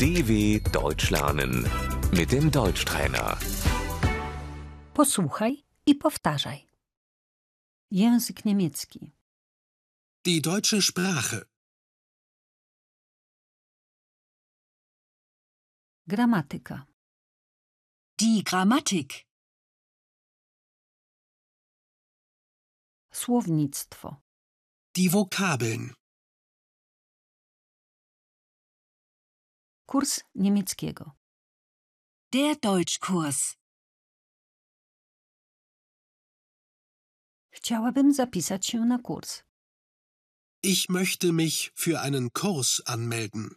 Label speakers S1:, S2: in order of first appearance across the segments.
S1: DW Deutsch lernen mit dem Deutschtrainer.
S2: Posłuchaj i powtarzaj. Język niemiecki.
S3: Die deutsche Sprache.
S2: Gramatyka.
S4: Die Grammatik,
S2: Słownictwo.
S3: Die Vokabeln.
S2: Kurs niemieckiego.
S4: der Deutschkurs.
S2: Chciałabym zapisać się na kurs.
S3: Ich möchte mich für einen Kurs anmelden.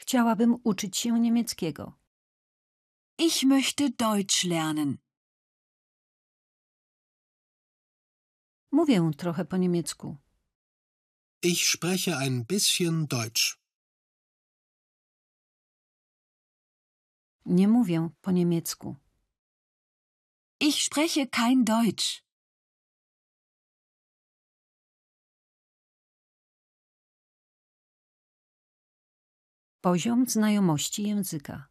S2: Chciałabym uczyć się niemieckiego.
S4: Ich möchte Deutsch lernen.
S2: Mówię trochę po niemiecku.
S3: Ich spreche ein bisschen Deutsch.
S2: Nie mówię po niemiecku.
S4: Ich spreche kein Deutsch.
S2: Poziom znajomości języka.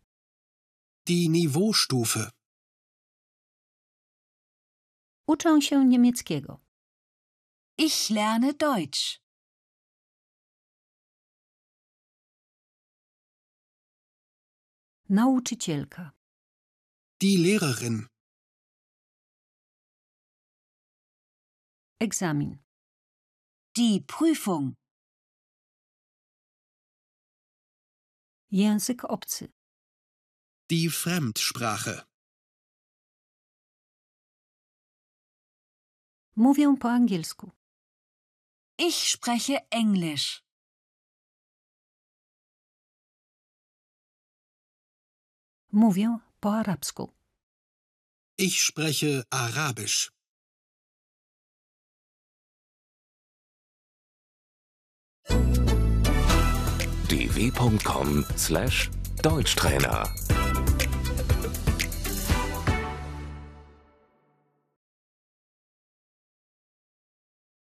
S3: Die Niveaustufe.
S2: Uczę się niemieckiego.
S4: Ich lerne Deutsch.
S2: Nauczycielka.
S3: Die Lehrerin.
S2: Egzamin.
S4: Die Prüfung,
S2: Język obcy.
S3: Die Fremdsprache.
S2: Mówię po angielsku.
S4: ich spreche Englisch.
S2: Mówię po arabsku.
S3: Ich spreche Arabisch.
S1: dw.com/deutschtrainer